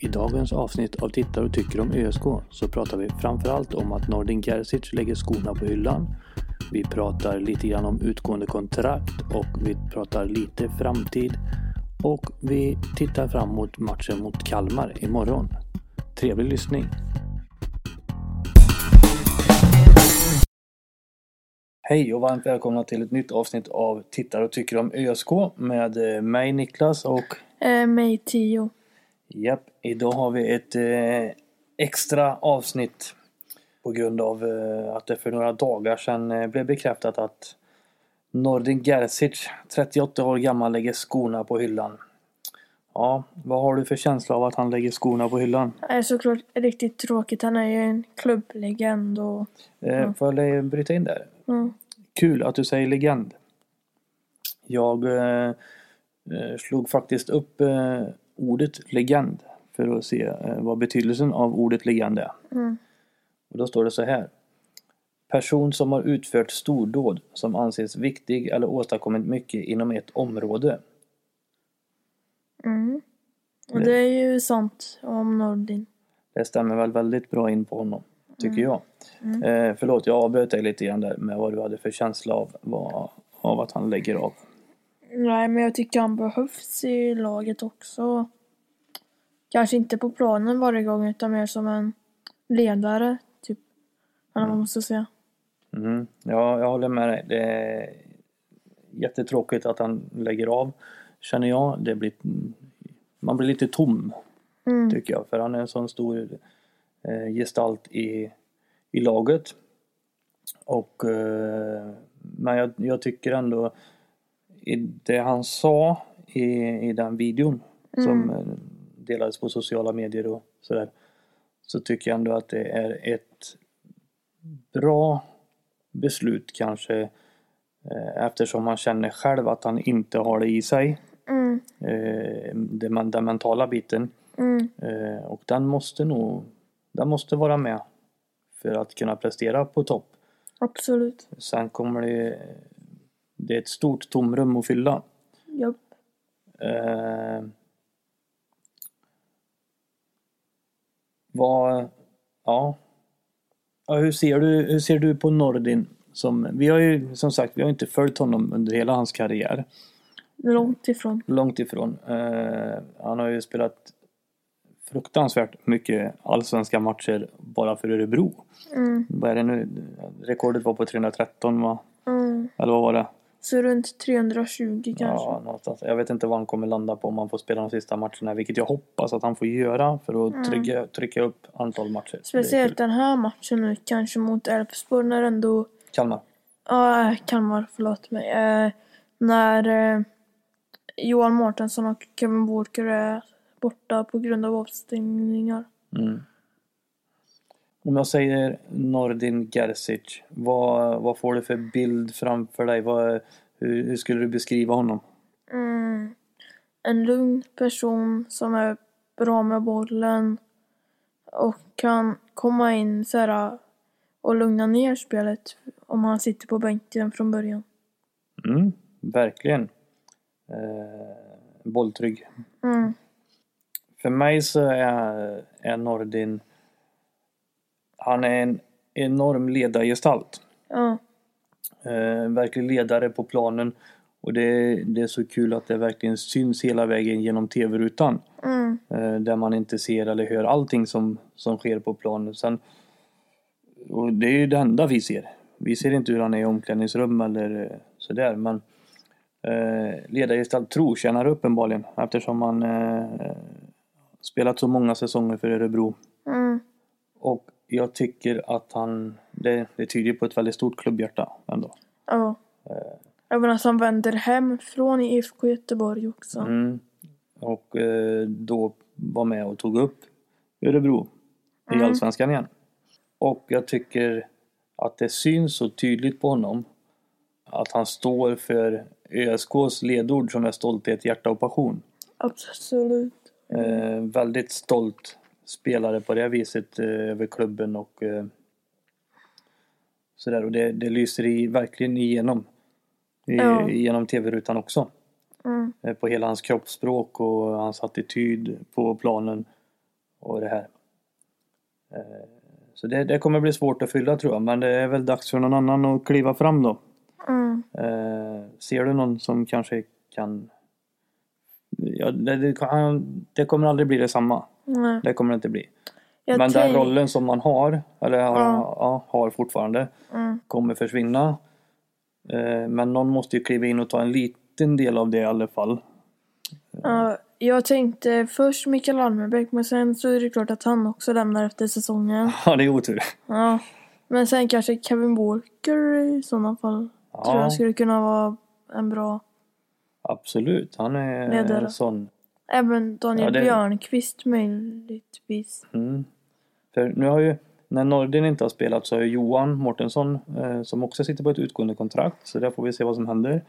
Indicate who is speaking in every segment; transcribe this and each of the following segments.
Speaker 1: I dagens avsnitt av Tittar och tycker om ÖSK så pratar vi framförallt om att Nordin Gerzic lägger skorna på hyllan. Vi pratar lite grann om utgående kontrakt och vi pratar lite framtid. Och vi tittar fram mot matchen mot Kalmar imorgon. Trevlig lyssning! Hej och varmt välkomna till ett nytt avsnitt av Tittar och tycker om ÖSK med eh, mig Niklas och
Speaker 2: Eh, mig 10.
Speaker 1: Japp, idag har vi ett eh, extra avsnitt på grund av eh, att det för några dagar sedan eh, blev bekräftat att Nordin Gerzic, 38 år gammal, lägger skorna på hyllan. Ja, vad har du för känsla av att han lägger skorna på hyllan?
Speaker 2: Det är såklart riktigt tråkigt. Han är ju en klubblegend och...
Speaker 1: Eh, får jag eh, bryta in där?
Speaker 2: Mm.
Speaker 1: Kul att du säger legend. Jag eh, eh, slog faktiskt upp eh, ordet legend för att se eh, vad betydelsen av ordet legend är.
Speaker 2: Mm.
Speaker 1: Och då står det så här. Person som har utfört stordåd som anses viktig eller åstadkommit mycket inom ett område.
Speaker 2: Mm. Och det är ju sant om Nordin.
Speaker 1: Det stämmer väl väldigt bra in på honom, tycker jag. Eh, förlåt, jag avbröt dig lite grann där med vad du hade för känsla av, vad, av att han lägger av.
Speaker 2: Nej, men jag tycker han behövs i laget också. Kanske inte på planen varje gång utan mer som en ledare, typ. Eller vad man måste säga.
Speaker 1: Mm. Ja, jag håller med dig. Det är jättetråkigt att han lägger av, känner jag. Det blir, man blir lite tom,
Speaker 2: Mm.
Speaker 1: tycker jag. För han är en sån stor eh, gestalt i, i laget. Och, eh, men jag, jag tycker ändå i det han sa i, i den videon som eh, delades på sociala medier och sådär. Så tycker jag ändå att det är ett bra beslut kanske eh, eftersom han känner själv att han inte har det i sig.
Speaker 2: Mm.
Speaker 1: Eh, det, men- den mentala biten.
Speaker 2: Mm.
Speaker 1: Eh, och den måste nog den måste vara med för att kunna prestera på topp.
Speaker 2: Absolut.
Speaker 1: Sen kommer det... Det är ett stort tomrum att fylla.
Speaker 2: Japp.
Speaker 1: Eh, vad... Ja. ja hur, ser du, hur ser du på Nordin? Som, vi har ju som sagt vi har inte följt honom under hela hans karriär.
Speaker 2: Långt ifrån.
Speaker 1: Långt ifrån. Eh, han har ju spelat fruktansvärt mycket allsvenska matcher bara för Örebro.
Speaker 2: Mm.
Speaker 1: Vad är det nu? Rekordet var på 313 va?
Speaker 2: Mm.
Speaker 1: Eller vad var det?
Speaker 2: Så runt 320 kanske.
Speaker 1: Ja, någonstans. Jag vet inte vad han kommer landa på om han får spela de sista matcherna, vilket jag hoppas att han får göra för att trycka, trycka upp antal matcher.
Speaker 2: Mm. Speciellt
Speaker 1: Det är kul.
Speaker 2: den här matchen nu, kanske mot Elfsborg när ändå...
Speaker 1: Kalmar.
Speaker 2: Ja, äh, Kalmar, förlåt mig. Eh, när eh, Johan Mårtensson och Kevin Walker är borta på grund av avstängningar.
Speaker 1: Mm. Om jag säger Nordin Gerzic, vad, vad får du för bild framför dig? Vad, hur, hur skulle du beskriva honom?
Speaker 2: Mm. En lugn person som är bra med bollen och kan komma in så här äh, och lugna ner spelet om han sitter på bänken från början.
Speaker 1: Mm, verkligen. Eh, bolltrygg.
Speaker 2: Mm.
Speaker 1: För mig så är, är Nordin... Han är en enorm ledargestalt.
Speaker 2: Ja.
Speaker 1: Eh, verklig ledare på planen. Och det, det är så kul att det verkligen syns hela vägen genom tv-rutan.
Speaker 2: Mm.
Speaker 1: Eh, där man inte ser eller hör allting som, som sker på planen. Sen, och det är ju det enda vi ser. Vi ser inte hur han är i omklädningsrum eller eh, sådär. Men eh, ledargestalt trotjänare uppenbarligen eftersom han eh, spelat så många säsonger för Örebro.
Speaker 2: Mm.
Speaker 1: Och jag tycker att han, det, det tyder på ett väldigt stort klubbhjärta ändå.
Speaker 2: Ja.
Speaker 1: Eh.
Speaker 2: Även att han vänder hem från IFK Göteborg också.
Speaker 1: Mm. Och eh, då var med och tog upp Örebro i Allsvenskan igen. Och jag tycker att det syns så tydligt på honom att han står för ÖSKs ledord som är stolthet, hjärta och passion.
Speaker 2: Absolut.
Speaker 1: Eh, väldigt stolt spelare på det viset eh, över klubben och eh, sådär. Och det, det lyser i, verkligen igenom. I,
Speaker 2: Ja.
Speaker 1: Genom tv-rutan också.
Speaker 2: Mm.
Speaker 1: Eh, på hela hans kroppsspråk och hans attityd på planen. och det här. Eh, Så det, det kommer bli svårt att fylla tror jag, men det är väl dags för någon annan att kliva fram då.
Speaker 2: Mm.
Speaker 1: Eh, ser du någon som kanske kan... Ja, det, det, kan- det kommer aldrig bli detsamma.
Speaker 2: Nej.
Speaker 1: Det kommer det inte bli.
Speaker 2: Jag
Speaker 1: men den
Speaker 2: tänk-
Speaker 1: rollen som man har, eller har,
Speaker 2: Ja.
Speaker 1: ja. har fortfarande,
Speaker 2: Mm.
Speaker 1: kommer försvinna. Eh, men någon måste ju kliva in och ta en liten del av det i alla fall.
Speaker 2: Ja, jag tänkte först Mikael Almebäck men sen så är det klart att han också lämnar efter säsongen.
Speaker 1: Ja, det är otur.
Speaker 2: Ja. Men sen kanske Kevin Walker i sådana fall. Tror
Speaker 1: Ja,
Speaker 2: jag skulle kunna vara en bra.
Speaker 1: absolut. Han är
Speaker 2: Ledare.
Speaker 1: en sån.
Speaker 2: Även Daniel
Speaker 1: Ja, det-
Speaker 2: Björnqvist möjligtvis.
Speaker 1: Mm. För nu har ju, när Nordin inte har spelat så har ju Johan Mårtensson, eh, som också sitter på ett utgående kontrakt, så där får vi se vad som händer.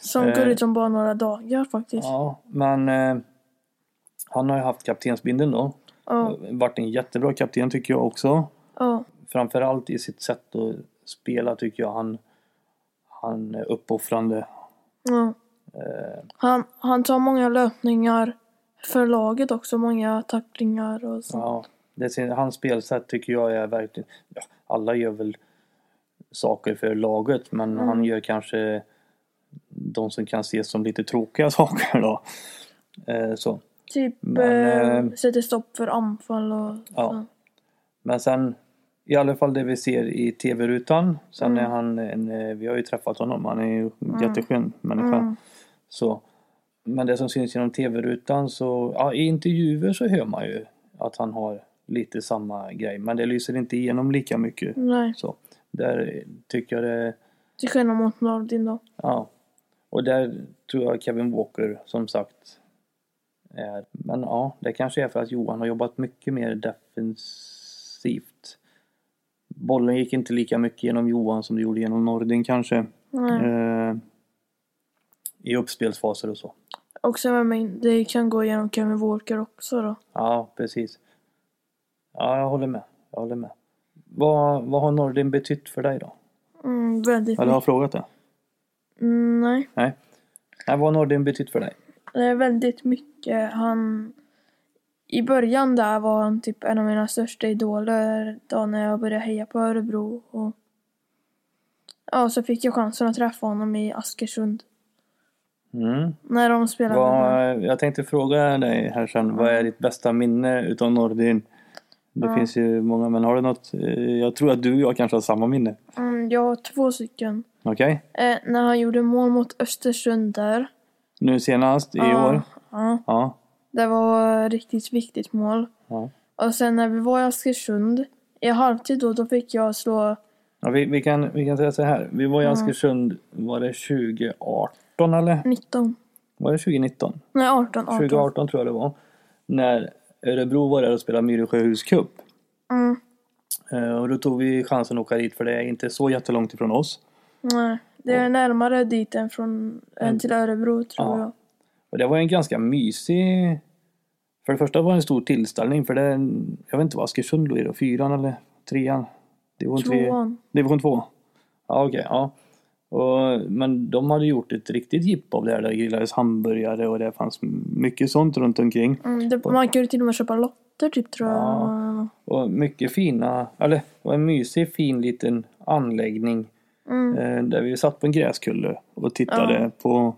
Speaker 2: Som
Speaker 1: Eh.
Speaker 2: går ut om bara några dagar faktiskt. Ja.
Speaker 1: Ja, men eh, han har ju haft kaptensbindeln då.
Speaker 2: Ja.
Speaker 1: Varit en jättebra kapten tycker jag också. Framförallt i sitt sätt att spela tycker jag han, han är uppoffrande.
Speaker 2: ja.
Speaker 1: Eh,
Speaker 2: Han, han tar många löpningar för laget också. Många tacklingar och så.
Speaker 1: ja, det, är sin- hans spelsätt tycker jag är verkligen... Ja, alla gör väl saker för laget men
Speaker 2: Mm.
Speaker 1: han gör kanske de som kan ses som lite tråkiga saker då. Eh, så.
Speaker 2: Typ
Speaker 1: Men, ehm,
Speaker 2: eh, sätter stopp för anfall och
Speaker 1: Ja. Men sen, i alla fall det vi ser i tv-rutan. Sen
Speaker 2: Mm.
Speaker 1: är han en, eh, vi har ju träffat honom, han är ju
Speaker 2: Mm.
Speaker 1: en jätteskön människa.
Speaker 2: Mm.
Speaker 1: Så, men det som syns genom tv-rutan så, ja i intervjuer så hör man ju att han har lite samma grej. Men det lyser inte igenom lika mycket.
Speaker 2: Nej,
Speaker 1: Så, där tycker jag det,
Speaker 2: till skillnad mot Nordin då.
Speaker 1: ja. Och där tror jag Kevin Walker som sagt är, men ja det kanske är för att Johan har jobbat mycket mer defensivt. Bollen gick inte lika mycket genom Johan som det gjorde genom Nordin kanske.
Speaker 2: Nej.
Speaker 1: Eh, I uppspelsfaser och så.
Speaker 2: Och sen med mig, det kan gå igenom Kevin Walker också då.
Speaker 1: Ja, precis. Ja, jag håller med. Jag håller med. Vad, vad har Nordin betytt för dig då?
Speaker 2: Mm, väldigt
Speaker 1: Eller har
Speaker 2: mycket.
Speaker 1: jag frågat det?
Speaker 2: Mm, nej.
Speaker 1: Nej. Nej, vad har Nordin betytt för dig?
Speaker 2: Det är väldigt mycket. Han... I början där var han typ en av mina största idoler då när jag började heja på Örebro. Och... Ja, så fick jag chansen att träffa honom i Askersund.
Speaker 1: Mm.
Speaker 2: När de spelade. med-
Speaker 1: Vad, jag tänkte fråga dig här sen, vad är ditt bästa minne utav Nordin? Det
Speaker 2: Mm. Ja.
Speaker 1: finns ju många, men har du något? eh, Jag tror att du och jag kanske har samma minne.
Speaker 2: Mm, jag har två stycken.
Speaker 1: Okej?
Speaker 2: Eh, när han gjorde mål mot Östersund där.
Speaker 1: Nu senast i
Speaker 2: Ja,
Speaker 1: år?
Speaker 2: Ja.
Speaker 1: Ja.
Speaker 2: Det var ett riktigt viktigt mål.
Speaker 1: Ja.
Speaker 2: Och sen när vi var i Askersund i halvtid då, då fick jag slå...
Speaker 1: ja vi, vi, kan, vi kan säga så här, vi var i
Speaker 2: Ja.
Speaker 1: Askersund, var det 2018 eller?
Speaker 2: 19.
Speaker 1: Var det 2019?
Speaker 2: Nej, 18. 18.
Speaker 1: 2018 tror jag det var. När Örebro var där och spelade Myresjöhus Cup.
Speaker 2: Mm.
Speaker 1: Eh, Och då tog vi chansen att åka dit för det är inte så jättelångt ifrån oss.
Speaker 2: Nej, det är närmare dit än, från, än till Örebro tror
Speaker 1: Ja.
Speaker 2: jag.
Speaker 1: Och det var en ganska mysig... För det första var det en stor tillställning för det... Jag vet inte vad Askersund låg i då? Fyran eller trean? Division tre-
Speaker 2: Tvåan.
Speaker 1: Division två? Ja okej, ja. Och, men de hade gjort ett riktigt jippo av det här. Där grillades hamburgare och det fanns mycket sånt runt omkring.
Speaker 2: Mm, det, man kunde till och med köpa lotter typ tror jag.
Speaker 1: Ja. Och mycket fina, eller det var en mysig fin liten anläggning
Speaker 2: Mm,
Speaker 1: eh, där vi satt på en gräskulle och tittade på,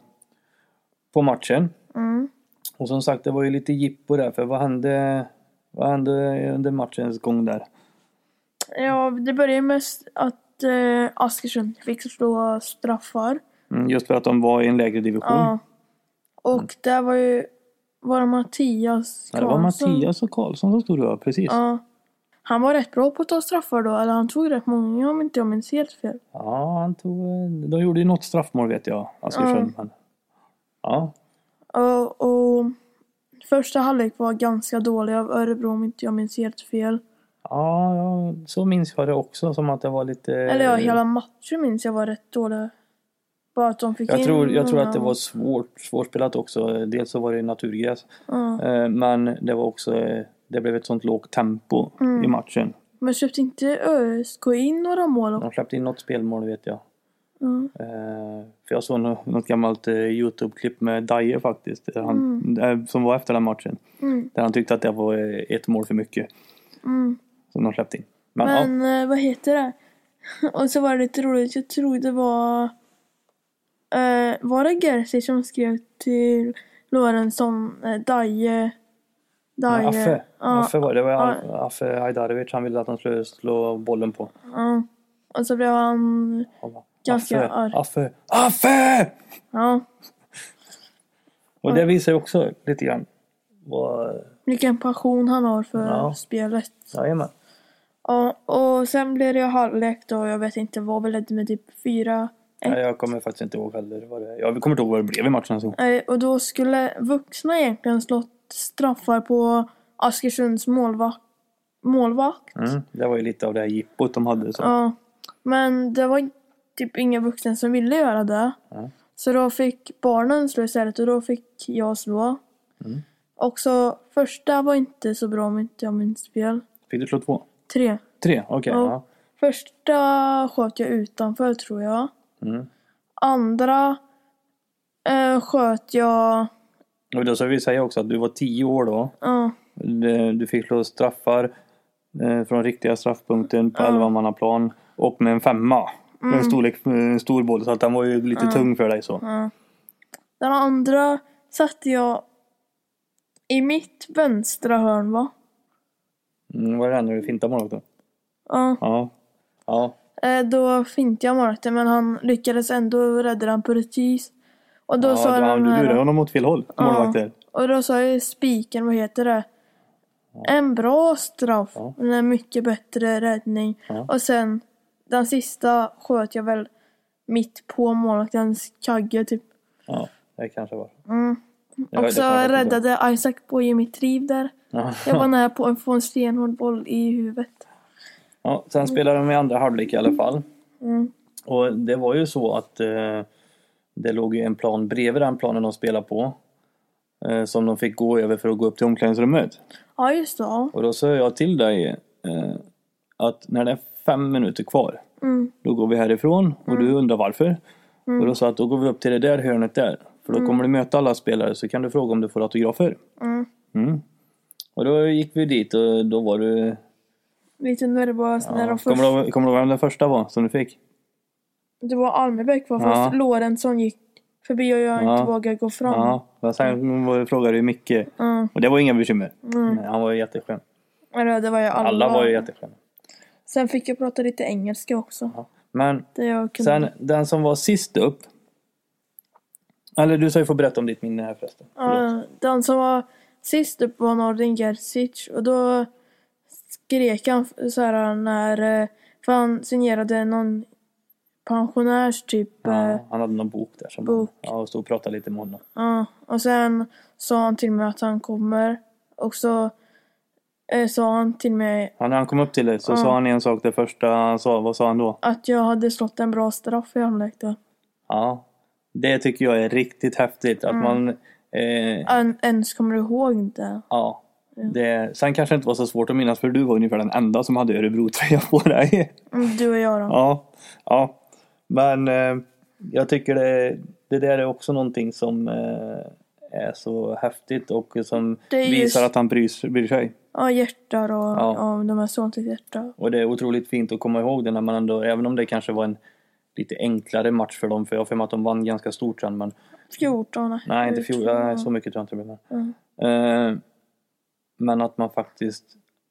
Speaker 1: på matchen.
Speaker 2: mm,
Speaker 1: Och som sagt, det var ju lite jippo där för vad hände, vad hände under matchens gång där?
Speaker 2: ja, det började med att eh, Askersund fick slå straffar.
Speaker 1: Mm, just för att de var i en lägre division.
Speaker 2: Ja. Och där var ju var det Mattias
Speaker 1: Mm. Ja, det var Mattias och Karlsson som stod där, precis. Ja.
Speaker 2: Ja. Han var rätt bra på att ta straffar då, eller han tog rätt många om inte jag minns helt fel.
Speaker 1: han tog, de gjorde ju något straffmål vet jag, Askersund. men- Ja,
Speaker 2: Och, och första halvlek var ganska dålig av Örebro om inte jag minns helt fel.
Speaker 1: ja, ja, så minns jag det också som att det var lite...
Speaker 2: Eller ja, hela matchen minns jag var rätt dålig. Bara att de fick
Speaker 1: Jag
Speaker 2: in
Speaker 1: tror, jag tror
Speaker 2: många.
Speaker 1: att det var svårt, svårspelat också. Dels så var det naturgräs.
Speaker 2: Ja.
Speaker 1: eh, Men det var också, eh, det blev ett sånt lågt tempo
Speaker 2: Mm.
Speaker 1: i matchen.
Speaker 2: Men släppte inte ÖSK in några mål?
Speaker 1: De släppte in något spelmål vet jag.
Speaker 2: Mm.
Speaker 1: Eh, för jag såg något, något gammalt eh, Youtube-klipp med Dyer faktiskt, där han, eh, som var efter den matchen.
Speaker 2: Mm.
Speaker 1: Där han tyckte att det var eh, ett mål för mycket
Speaker 2: Mm.
Speaker 1: som de släppte in. Men, ja,
Speaker 2: Men eh, vad heter det? Och så var det lite roligt, jag tror det var... Eh, var det Gersi som skrev till Lorentzon, eh, Daje... Daje...
Speaker 1: Affe.
Speaker 2: Ja,
Speaker 1: Affe var det. det. var Affe Hajdarevic han ville att han skulle slå bollen på.
Speaker 2: ja. Och så blev han...
Speaker 1: Han bara,
Speaker 2: Ganska arg.
Speaker 1: Affe, Affe, Affe!
Speaker 2: Ja,
Speaker 1: Och det visar ju också lite grann vad...
Speaker 2: vilken passion han har för
Speaker 1: Ja.
Speaker 2: spelet.
Speaker 1: Jajamän.
Speaker 2: Ja, och sen blev det ju halvlek då, jag vet inte vad vi ledde med, typ fyra.
Speaker 1: Nej, jag kommer faktiskt inte ihåg heller vad det... Jag kommer inte ihåg vad det blev i matchen ens. en gång.
Speaker 2: Eh, och då skulle vuxna egentligen slått straffar på Askersunds målvakt. målvakt.
Speaker 1: Mm. Det var ju lite av det här jippot de hade. Så.
Speaker 2: Ja, men det var typ ingen vuxen som ville göra det.
Speaker 1: Ja.
Speaker 2: Så då fick barnen slå istället och då fick jag slå.
Speaker 1: Mm.
Speaker 2: Och så första var inte så bra om inte jag minns fel.
Speaker 1: Fick du slå två?
Speaker 2: Tre.
Speaker 1: Tre? Okej.
Speaker 2: Ja.
Speaker 1: ja.
Speaker 2: Första sköt jag utanför tror jag.
Speaker 1: Mm.
Speaker 2: Andra eh, sköt jag...
Speaker 1: Och då ska vi säga också att du var tio år då.
Speaker 2: ja,
Speaker 1: Du- Du fick slå straffar eh, från riktiga straffpunkten på elvamannaplan och med en femma.
Speaker 2: Mm.
Speaker 1: En, storlek, en stor boll, så att den var ju lite tung för dig så.
Speaker 2: ja. Den andra satte jag i mitt vänstra hörn va?
Speaker 1: Mm, var det den när du fintade målet då?
Speaker 2: Ja.
Speaker 1: Ja. Ja.
Speaker 2: Eh, Då fintade jag målvakten men han lyckades ändå rädda den precis. Och då
Speaker 1: ja
Speaker 2: sa
Speaker 1: du,
Speaker 2: den
Speaker 1: du lurade
Speaker 2: här,
Speaker 1: honom åt fel håll, målvakter.
Speaker 2: och då sa ju spiken, vad heter det? En bra straff.
Speaker 1: Ja.
Speaker 2: En mycket bättre räddning.
Speaker 1: Ja.
Speaker 2: Och sen den sista sköt jag väl mitt på målvaktens kagge typ.
Speaker 1: Ja, det kanske var.
Speaker 2: Mm.
Speaker 1: Det var-
Speaker 2: Och så
Speaker 1: det var-
Speaker 2: räddade Isaac Boye mitt liv där.
Speaker 1: Ja.
Speaker 2: Jag var nära på att få en stenhård boll i huvudet.
Speaker 1: Ja, sen spelade de i andra halvlek i alla fall.
Speaker 2: Mm.
Speaker 1: Och det var ju så att eh, det låg ju en plan bredvid den planen de spelade på. Eh, som de fick gå över för att gå upp till omklädningsrummet.
Speaker 2: Ja, just det. ja.
Speaker 1: Och då sa jag till dig eh, att när det är fem minuter kvar,
Speaker 2: Mm.
Speaker 1: då går vi härifrån. Och du undrar varför. Och då sa jag att då går vi upp till det där hörnet där. För då kommer du möta alla spelare så kan du fråga om du får autografer.
Speaker 2: Mm.
Speaker 1: Mm. Och då gick vi dit och då var du...
Speaker 2: Lite nervös när de
Speaker 1: Ja,
Speaker 2: först...
Speaker 1: kommer, du, ihåg- kommer du ihåg vem den första var som du fick?
Speaker 2: Det var Almebäck var
Speaker 1: Ja.
Speaker 2: först. Lorentzon gick förbi och jag
Speaker 1: Ja.
Speaker 2: inte vågade gå fram.
Speaker 1: Ja, men sen var- frågade du Micke.
Speaker 2: Mm.
Speaker 1: Och det var inga bekymmer.
Speaker 2: Mm.
Speaker 1: Nej, han var ju jätteskön.
Speaker 2: Eller det var ju alla.
Speaker 1: Alla var ju jättesköna.
Speaker 2: Sen fick jag prata lite engelska också.
Speaker 1: Ja. Men
Speaker 2: Det jag kunde...
Speaker 1: sen den som var sist upp. Eller du ska ju få berätta om ditt minne här förresten. Förlåt.
Speaker 2: Ja, den som var sist upp var Nordin Gerzic och då skrek han så här när... eh, För han signerade någon pensionärs typ. eh,
Speaker 1: Ja, han hade någon bok där. Som
Speaker 2: Bok.
Speaker 1: Ja, och stod och pratade lite med honom.
Speaker 2: Ja, och sen sa han till mig att han kommer. Och så eh, sa han till mig
Speaker 1: Ja, när han kom upp till dig så sa han en sak det första han sa. Vad sa han då?
Speaker 2: att jag hade slått en bra straff i halvlek då.
Speaker 1: Ja, det tycker jag är riktigt häftigt. Att man... Eh,
Speaker 2: En, ens kommer ihåg det.
Speaker 1: ja. Det, sen kanske det inte var så svårt att minnas för du var ungefär den enda som hade Örebro-tröja på dig.
Speaker 2: Mm, Du och jag då.
Speaker 1: Ja, ja. Men eh, jag tycker det, det där är också någonting som eh, är så häftigt och som
Speaker 2: Det är
Speaker 1: visar
Speaker 2: just-
Speaker 1: att han bryr, sig- bryr sig.
Speaker 2: Ja, hjärtar och ja.
Speaker 1: Ja.
Speaker 2: de här sånt till hjärta.
Speaker 1: Och det är otroligt fint att komma ihåg det när man ändå, även om det kanske var en lite enklare match för dem, för jag har för mig att de vann ganska stort sen. Men,
Speaker 2: 14. nej.
Speaker 1: nej, inte fjol, nej, så mycket tror jag inte det blev. men. Eh, men att man faktiskt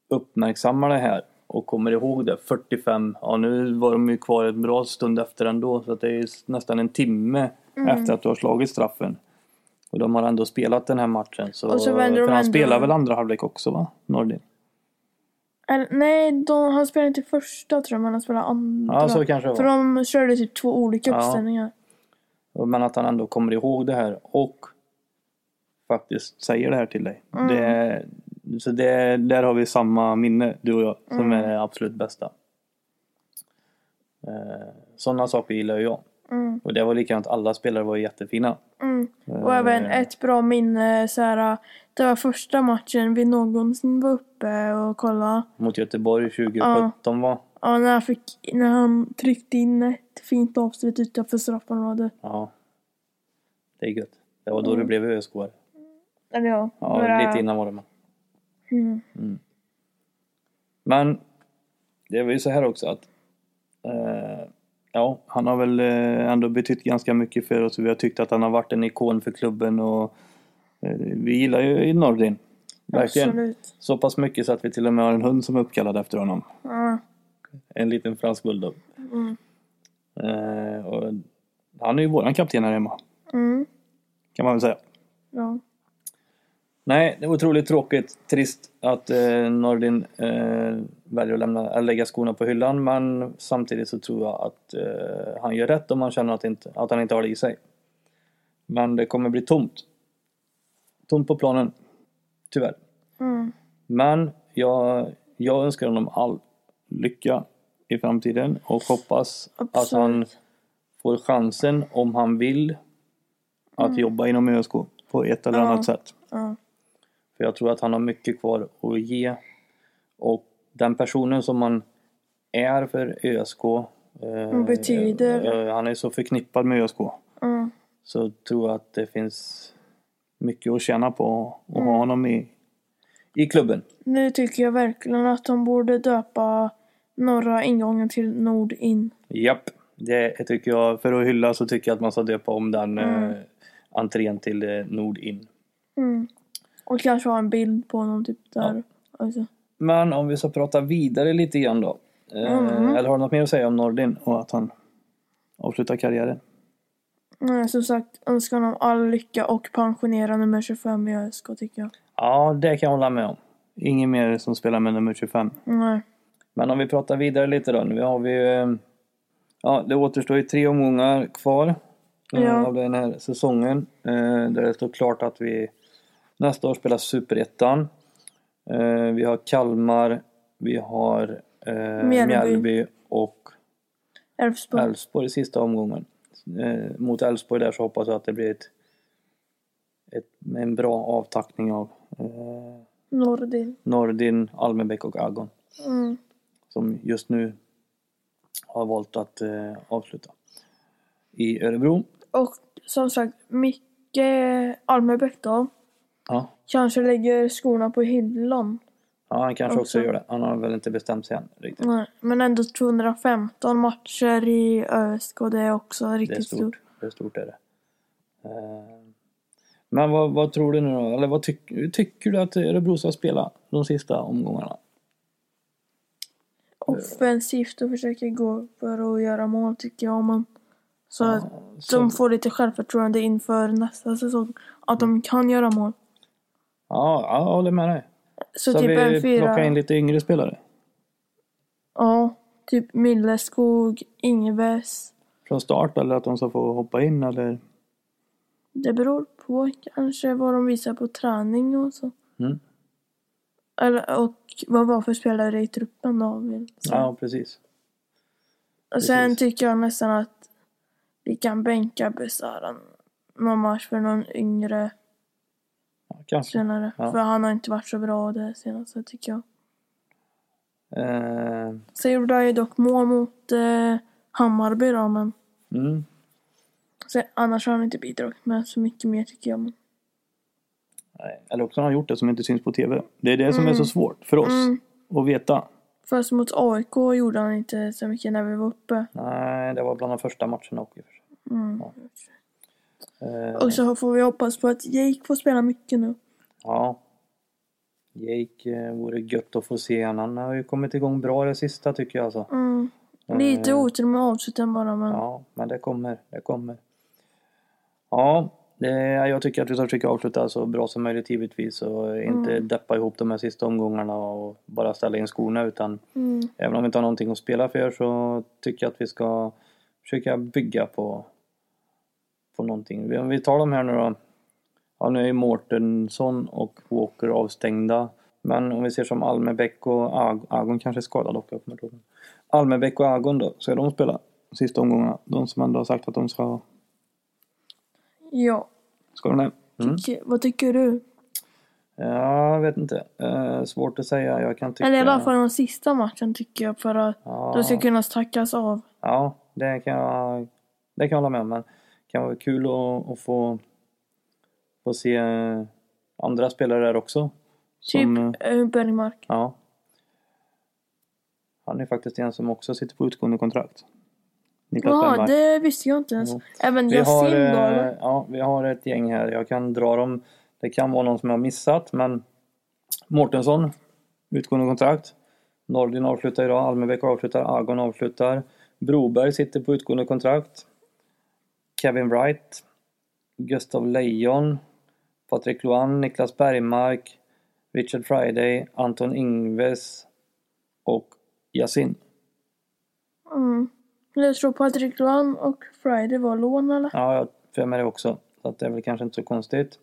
Speaker 1: uppmärksammar det här och kommer ihåg det. 45, ja nu var de ju kvar en bra stund efter ändå så att det är ju s- nästan en timme
Speaker 2: Mm.
Speaker 1: efter att du har slagit straffen. Och de har ändå spelat den här matchen. Så,
Speaker 2: Och så vänder de
Speaker 1: för han
Speaker 2: ändå-
Speaker 1: spelar väl andra halvlek också va? Nordin?
Speaker 2: Eller, nej, de, han spelade inte första tror jag, men han spelade andra.
Speaker 1: Ja, så kanske det var.
Speaker 2: För de körde typ två olika
Speaker 1: Ja.
Speaker 2: uppställningar.
Speaker 1: Men att han ändå kommer ihåg det här och faktiskt säger det här till dig.
Speaker 2: Mm.
Speaker 1: Det, så det, där har vi samma minne, du och jag,
Speaker 2: Mm.
Speaker 1: som är det absolut bästa. Eh, Sådana saker gillar ju jag.
Speaker 2: Mm.
Speaker 1: Och det var likadant, alla spelare var jättefina.
Speaker 2: Mm.
Speaker 1: Eh.
Speaker 2: Och även ett bra minne så här, det var första matchen vi någonsin var uppe och kollade.
Speaker 1: Mot Göteborg 2017 var.
Speaker 2: Ja, när han, fick, när han tryckte in ett fint avslut utanför straffområdet.
Speaker 1: Ja. Det är gött. Det var då du
Speaker 2: Mm.
Speaker 1: blev ösk Ja,
Speaker 2: Eller ja,
Speaker 1: ja, lite innan var det men.
Speaker 2: Mm.
Speaker 1: Men det var ju så här också att eh, ja, han har väl eh, ändå betytt ganska mycket för oss. Vi har tyckt att han har varit en ikon för klubben och eh, vi gillar ju Nordin. Verkligen.
Speaker 2: Absolut.
Speaker 1: Så pass mycket så att vi till och med har en hund som är uppkallad efter honom.
Speaker 2: Ja.
Speaker 1: En liten fransk bulldog.
Speaker 2: Mm.
Speaker 1: Eh, och han är ju våran kapten här hemma,
Speaker 2: Mm.
Speaker 1: kan man väl säga.
Speaker 2: Ja.
Speaker 1: Nej, det var otroligt tråkigt. Trist att eh, Nordin eh, väljer att lämna, att lägga skorna på hyllan. Men samtidigt så tror jag att eh, han gör rätt om han känner att, inte, att han inte har det i sig. Men det kommer bli tomt. Tomt på planen. Tyvärr.
Speaker 2: Mm.
Speaker 1: Men jag, jag önskar honom all lycka i framtiden och hoppas att han
Speaker 2: Absolut.
Speaker 1: får chansen om han vill att jobba inom ÖSK på ett eller
Speaker 2: Mm. Ja.
Speaker 1: annat sätt.
Speaker 2: Ja.
Speaker 1: För jag tror att han har mycket kvar att ge. Och den personen som han är för ÖSK. Eh,
Speaker 2: Och betyder.
Speaker 1: eh, han är så förknippad med ÖSK.
Speaker 2: Mm.
Speaker 1: Så tror jag att det finns mycket att tjäna på att ha honom i, i klubben.
Speaker 2: Nu tycker jag verkligen att de borde döpa norra ingången till nord in.
Speaker 1: Japp, det tycker jag. För att hylla så tycker jag att man ska döpa om den eh, entrén till eh, Nordin.
Speaker 2: Mm. Och kanske ha en bild på honom typ där. Alltså.
Speaker 1: Men om vi ska prata vidare lite grann då. Eh, Eller har du något mer att säga om Nordin och att han avslutar karriären?
Speaker 2: Nej, som sagt, önskar honom all lycka och pensionera nummer 25 i ÖSK tycker jag.
Speaker 1: Ja, det kan jag hålla med om. Ingen mer som spelar med nummer 25.
Speaker 2: Nej.
Speaker 1: Men om vi pratar vidare lite då. Nu har vi ju... eh, Ja, det återstår ju tre omgångar kvar eh,
Speaker 2: Ja.
Speaker 1: av den här säsongen. eh, Där det står klart att vi nästa år spelar Superettan. Eh, Vi har Kalmar, vi har eh,
Speaker 2: Mjällby.
Speaker 1: Mjällby och
Speaker 2: Elfsborg.
Speaker 1: Elfsborg i sista omgången. Eh, Mot Elfsborg där så hoppas jag att det blir ett, ett, en bra avtackning av eh,
Speaker 2: Nordin.
Speaker 1: Nordin, Almenbäck och Agon
Speaker 2: Mm.
Speaker 1: som just nu har valt att eh, avsluta i Örebro.
Speaker 2: Och som sagt, Micke Almebäck då.
Speaker 1: Ja,
Speaker 2: Kanske lägger skorna på hyllan.
Speaker 1: ja han kanske också
Speaker 2: Också.
Speaker 1: gör det. Han har väl inte bestämt sig än riktigt.
Speaker 2: Alltså. Nej, men ändå 215 matcher i ÖSK, det är också
Speaker 1: Det är
Speaker 2: riktigt stort.
Speaker 1: stort. Det är stort är det. Eh, men vad, vad tror du nu då? Eller vad tyck, hur tycker du att Örebro ska spela de sista omgångarna?
Speaker 2: Offensivt och försöker gå för att göra mål tycker jag. Men så att
Speaker 1: Eh, Så,
Speaker 2: de får lite självförtroende inför nästa säsong. Att
Speaker 1: Mm.
Speaker 2: de kan göra mål.
Speaker 1: ja, ja, jag håller med dig.
Speaker 2: Så,
Speaker 1: Så,
Speaker 2: typ
Speaker 1: vi
Speaker 2: en fyra.
Speaker 1: plockar in lite yngre spelare
Speaker 2: Ja, typ Milleskog, Ingves.
Speaker 1: från start eller att de ska få hoppa in eller?
Speaker 2: Det beror på kanske vad de visar på träning och så.
Speaker 1: Mm.
Speaker 2: Eller, och vad var för spelare i truppen då. vill säga.
Speaker 1: Ja, precis.
Speaker 2: Och sen
Speaker 1: Precis.
Speaker 2: tycker jag nästan att vi kan bänka Besara någon match för någon yngre
Speaker 1: Ja, kanske.
Speaker 2: senare.
Speaker 1: Ja.
Speaker 2: För han har inte varit så bra det senaste tycker jag.
Speaker 1: Eh,
Speaker 2: Sen gjorde han ju dock mål mot eh, Hammarby då, men
Speaker 1: mm.
Speaker 2: sen, annars har han inte bidragit med så mycket mer tycker jag. Men,
Speaker 1: Nej, Eller också har han gjort det som inte syns på TV. Det är det som är så svårt för oss
Speaker 2: Mm.
Speaker 1: att veta.
Speaker 2: fast mot AIK gjorde han inte så mycket när vi var uppe.
Speaker 1: Nej, det var bland de första matcherna också. i och för sig.
Speaker 2: Mm.
Speaker 1: Eh,
Speaker 2: Och så får vi hoppas på att Jake får spela mycket nu.
Speaker 1: Ja. Jake eh, vore gött att få se igen. Han har ju kommit igång bra det sista tycker jag alltså.
Speaker 2: Mm. Lite otur med avsluten bara men
Speaker 1: Eh. Ja, men det kommer. Det kommer. Ja, eh, jag tycker att vi ska försöka avsluta så bra som möjligt givetvis och inte
Speaker 2: Mm.
Speaker 1: deppa ihop de här sista omgångarna och bara ställa in skorna utan
Speaker 2: mm.
Speaker 1: Även om vi inte har någonting att spela för så tycker jag att vi ska försöka bygga på, på någonting. Vi- Om vi tar de här nu då. Ja, nu är ju Mårtensson och Walker avstängda. Men om vi ser som Almebäck och Ag- Agon kanske är skadad också. Jag kommer inte ihåg. Almebäck och Agon då, ska de spela sista omgångarna? De som ändå har sagt att de ska...
Speaker 2: ja.
Speaker 1: Ska de det? Mm.
Speaker 2: Tycker- Vad tycker du?
Speaker 1: Ja, jag vet inte. Eh, svårt att säga. Jag kan tycka...
Speaker 2: Eller i alla fall den sista matchen tycker jag för att
Speaker 1: Ja.
Speaker 2: de ska kunna tackas av.
Speaker 1: Ja, det kan jag, det kan jag hålla med om. Men det kan vara kul att, att få, få se andra spelare där också.
Speaker 2: Typ
Speaker 1: Som, eh,
Speaker 2: eh, Bergmark.
Speaker 1: Ja. Han är faktiskt en som också sitter på utgående kontrakt. Niklas
Speaker 2: Ja,
Speaker 1: Bergmark.
Speaker 2: det visste jag inte ens.
Speaker 1: Jo.
Speaker 2: Även
Speaker 1: Vi har,
Speaker 2: Yasin
Speaker 1: eh,
Speaker 2: Dahl.
Speaker 1: ja, vi har ett gäng här. Jag kan dra dem. Det kan vara någon som jag har missat, men Mårtensson, utgående kontrakt. Nordin avslutar idag, Almebäck avslutar, Agon avslutar. Broberg sitter på utgående kontrakt. Kevin Wright, Gustav Lejon, Patrik Loan, Niklas Bergmark, Richard Friday, Anton Ingves och Yasin.
Speaker 2: Mm. Jag tror Patrik Lohan och Friday var lån eller?
Speaker 1: Ja, jag har för mig det också. Så att det är väl kanske inte så konstigt.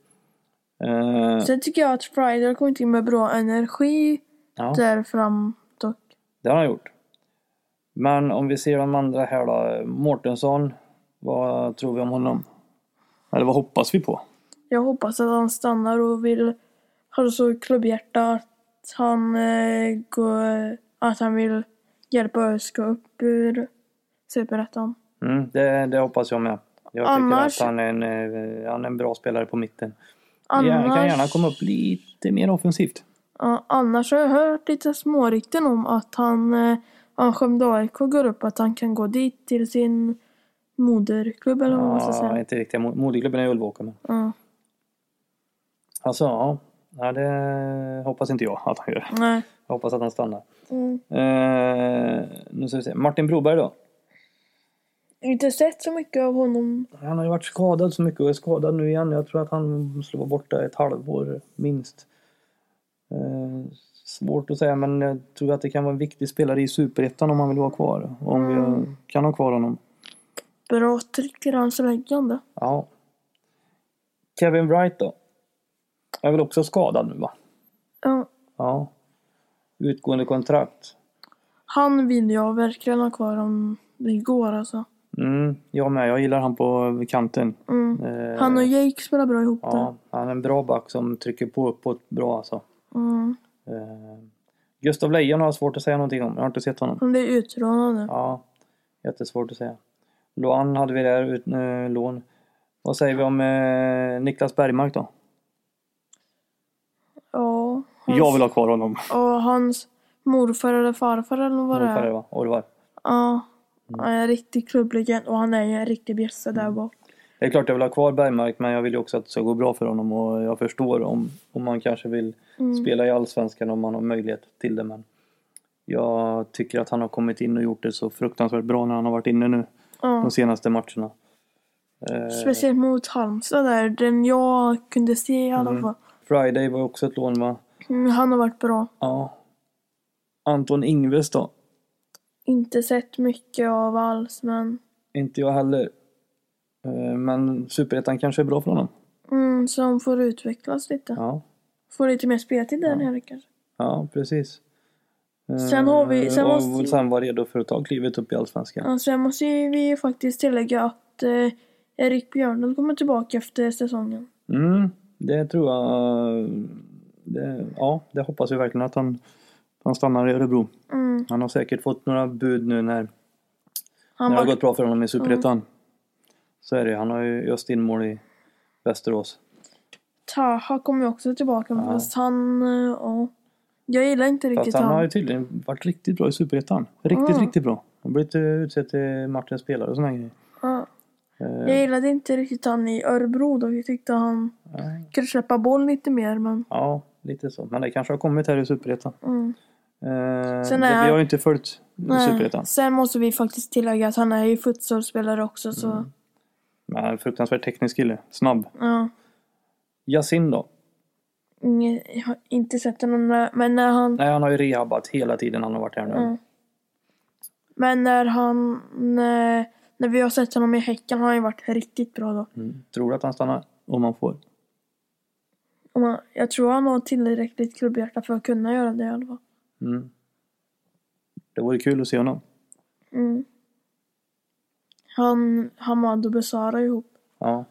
Speaker 1: Eh,
Speaker 2: Sen tycker jag att Friday har kommit in med bra energi
Speaker 1: ja.
Speaker 2: där fram dock.
Speaker 1: Det har han gjort. Men om vi ser de andra här då. Mårtensson. Vad tror vi om honom? Eller vad hoppas vi på?
Speaker 2: Jag hoppas att han stannar och vill ha så klubbhjärta att han, eh, går, att han vill hjälpa ÖSK upp ur Superettan.
Speaker 1: Mm, det, det hoppas jag med. Jag
Speaker 2: Annars-
Speaker 1: tycker att han är, en, eh, han är en bra spelare på mitten.
Speaker 2: Annars,
Speaker 1: Annars... Kan gärna komma upp lite mer offensivt.
Speaker 2: Ja, annars har jag hört lite smårykten om att han, eh, om Skövde AIK går upp, att han kan gå dit till sin moderklubb eller vad man ska
Speaker 1: Ja,
Speaker 2: säga.
Speaker 1: inte riktigt. Mo- Moderklubben är i Ulvåker. Men...
Speaker 2: Ja.
Speaker 1: Alltså, ja. Nej, det hoppas inte jag att han gör.
Speaker 2: Nej.
Speaker 1: Jag hoppas att han stannar.
Speaker 2: Mm.
Speaker 1: Eh, nu ska vi se. Martin Broberg då.
Speaker 2: Inte sett så mycket av honom.
Speaker 1: Han har ju varit skadad så mycket och är skadad nu igen. Jag tror att han skulle vara borta ett halvår minst. Eh, svårt att säga men jag tror att det kan vara en viktig spelare i Superettan om han vill vara kvar. Och Om vi eh, kan ha kvar honom.
Speaker 2: Bra tryck i hans läggande.
Speaker 1: Ja. Kevin Wright då? Är väl också skadad nu va?
Speaker 2: Ja.
Speaker 1: Ja. Utgående kontrakt.
Speaker 2: Han vill jag verkligen ha kvar om det går alltså.
Speaker 1: Mm, jag med. Jag gillar han på kanten.
Speaker 2: Mm.
Speaker 1: Eh,
Speaker 2: Han och Jake spelar bra ihop där.
Speaker 1: Ja, han är en bra back som trycker på uppåt bra alltså.
Speaker 2: Mm.
Speaker 1: Eh, Gustav Lejon har jag svårt att säga någonting om. Jag har inte sett honom.
Speaker 2: Han blir utrånad nu.
Speaker 1: Ja, jättesvårt att säga. Loan hade vi där, ut, eh, lån. Vad säger vi om eh, Niklas Bergmark då?
Speaker 2: Ja. Hans,
Speaker 1: Jag vill ha kvar honom.
Speaker 2: Och hans morfar eller farfar eller vad det
Speaker 1: Ungefär det
Speaker 2: är.
Speaker 1: va? Orvar.
Speaker 2: Ja.
Speaker 1: Mm.
Speaker 2: Han är en riktig klubblegend och han är ju en riktig bjässe där bak.
Speaker 1: Det är klart jag vill ha kvar Bergmark men jag vill ju också att det ska gå bra för honom och jag förstår om, om man kanske vill
Speaker 2: Mm.
Speaker 1: spela i Allsvenskan om man har möjlighet till det men jag tycker att han har kommit in och gjort det så fruktansvärt bra när han har varit inne nu
Speaker 2: Ja.
Speaker 1: de senaste matcherna. Eh,
Speaker 2: Speciellt mot Halmstad där, den jag kunde se i
Speaker 1: Mm.
Speaker 2: alla fall.
Speaker 1: Friday var också ett lån va?
Speaker 2: Mm, Han har varit bra.
Speaker 1: Ja. Anton Ingves då?
Speaker 2: Inte sett mycket av alls men
Speaker 1: Inte jag heller. Eh, Men superettan kanske är bra för honom.
Speaker 2: mm, som får utvecklas lite.
Speaker 1: Ja,
Speaker 2: Får lite mer speltid där nere kanske.
Speaker 1: ja precis. Eh,
Speaker 2: Sen har vi- sen
Speaker 1: och
Speaker 2: måste-
Speaker 1: sen var redo för att ta klivet upp i Allsvenskan.
Speaker 2: Ja, sen måste ju vi faktiskt tillägga att eh, Erik Björnlund kommer tillbaka efter säsongen.
Speaker 1: Mm, det tror jag. Det, ja, det hoppas vi verkligen att han, han stannar i Örebro.
Speaker 2: Mm.
Speaker 1: Han har säkert fått några bud nu när, när
Speaker 2: Han
Speaker 1: det har
Speaker 2: var,
Speaker 1: gått bra för honom i superettan. Så är det. Han har ju öst in mål i Västerås.
Speaker 2: Taha kom ju också tillbaka men fast han... Eh, ja. jag gillar inte riktigt
Speaker 1: Fast han har ju tydligen varit riktigt bra i superettan. Riktigt,
Speaker 2: Mm.
Speaker 1: riktigt bra. Han har blivit eh, utsedd till matchens spelare och såna grejer.
Speaker 2: Ja.
Speaker 1: Eh,
Speaker 2: Jag gillade inte riktigt han i Örebro då. Jag tyckte han
Speaker 1: Nej.
Speaker 2: kunde släppa boll lite mer men...
Speaker 1: Ja, lite så. Men det kanske har kommit här i Superettan.
Speaker 2: Mm.
Speaker 1: Eh,
Speaker 2: Sen
Speaker 1: det,
Speaker 2: är-
Speaker 1: Vi har ju inte följt
Speaker 2: Nej.
Speaker 1: Superettan.
Speaker 2: Sen måste vi faktiskt tillägga att han är ju futsalspelare också så...
Speaker 1: Mm. Men fruktansvärt teknisk kille. Snabb.
Speaker 2: Ja.
Speaker 1: Yasin då?
Speaker 2: Inge, jag har inte sett honom där, men när han...
Speaker 1: Nej, han har ju rehabbat hela tiden han har varit här nu.
Speaker 2: Mm. Men när han... När, när vi har sett honom i Häcken har han ju varit riktigt bra då.
Speaker 1: Mm. Tror du att han stannar? Om han får.
Speaker 2: Om han, jag tror han har tillräckligt klubbhjärta för att kunna göra det i alla fall.
Speaker 1: Mm. Det vore kul att se honom.
Speaker 2: Mm. Han, Hamad och Besara ihop.
Speaker 1: Ja,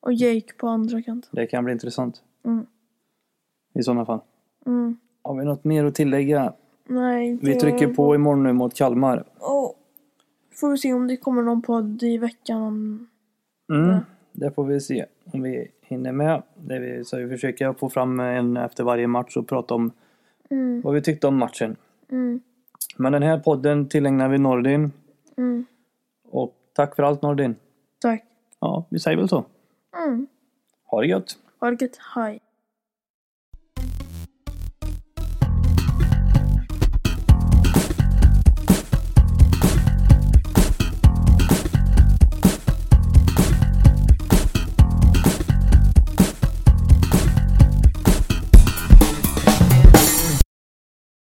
Speaker 2: Och Jake på andra kanten.
Speaker 1: det kan bli intressant.
Speaker 2: Mm.
Speaker 1: I sådana fall.
Speaker 2: Mm.
Speaker 1: Har vi något mer att tillägga?
Speaker 2: Nej.
Speaker 1: Vi
Speaker 2: det-
Speaker 1: trycker på imorgon nu mot Kalmar.
Speaker 2: Åh. Får vi se om det kommer någon podd i veckan om...
Speaker 1: Mm,
Speaker 2: Ja.
Speaker 1: Det får vi se om vi hinner med. Det vi, så vi försöker få fram en efter varje match och prata om
Speaker 2: Mm,
Speaker 1: vad vi tyckte om matchen.
Speaker 2: mm,
Speaker 1: Men den här podden tillägnar vi Nordin.
Speaker 2: mm.
Speaker 1: Och tack för allt Nordin.
Speaker 2: Tack.
Speaker 1: Ja, vi säger väl så.
Speaker 2: Mm.
Speaker 1: Ha det gött!
Speaker 2: Ha det gött. Hej.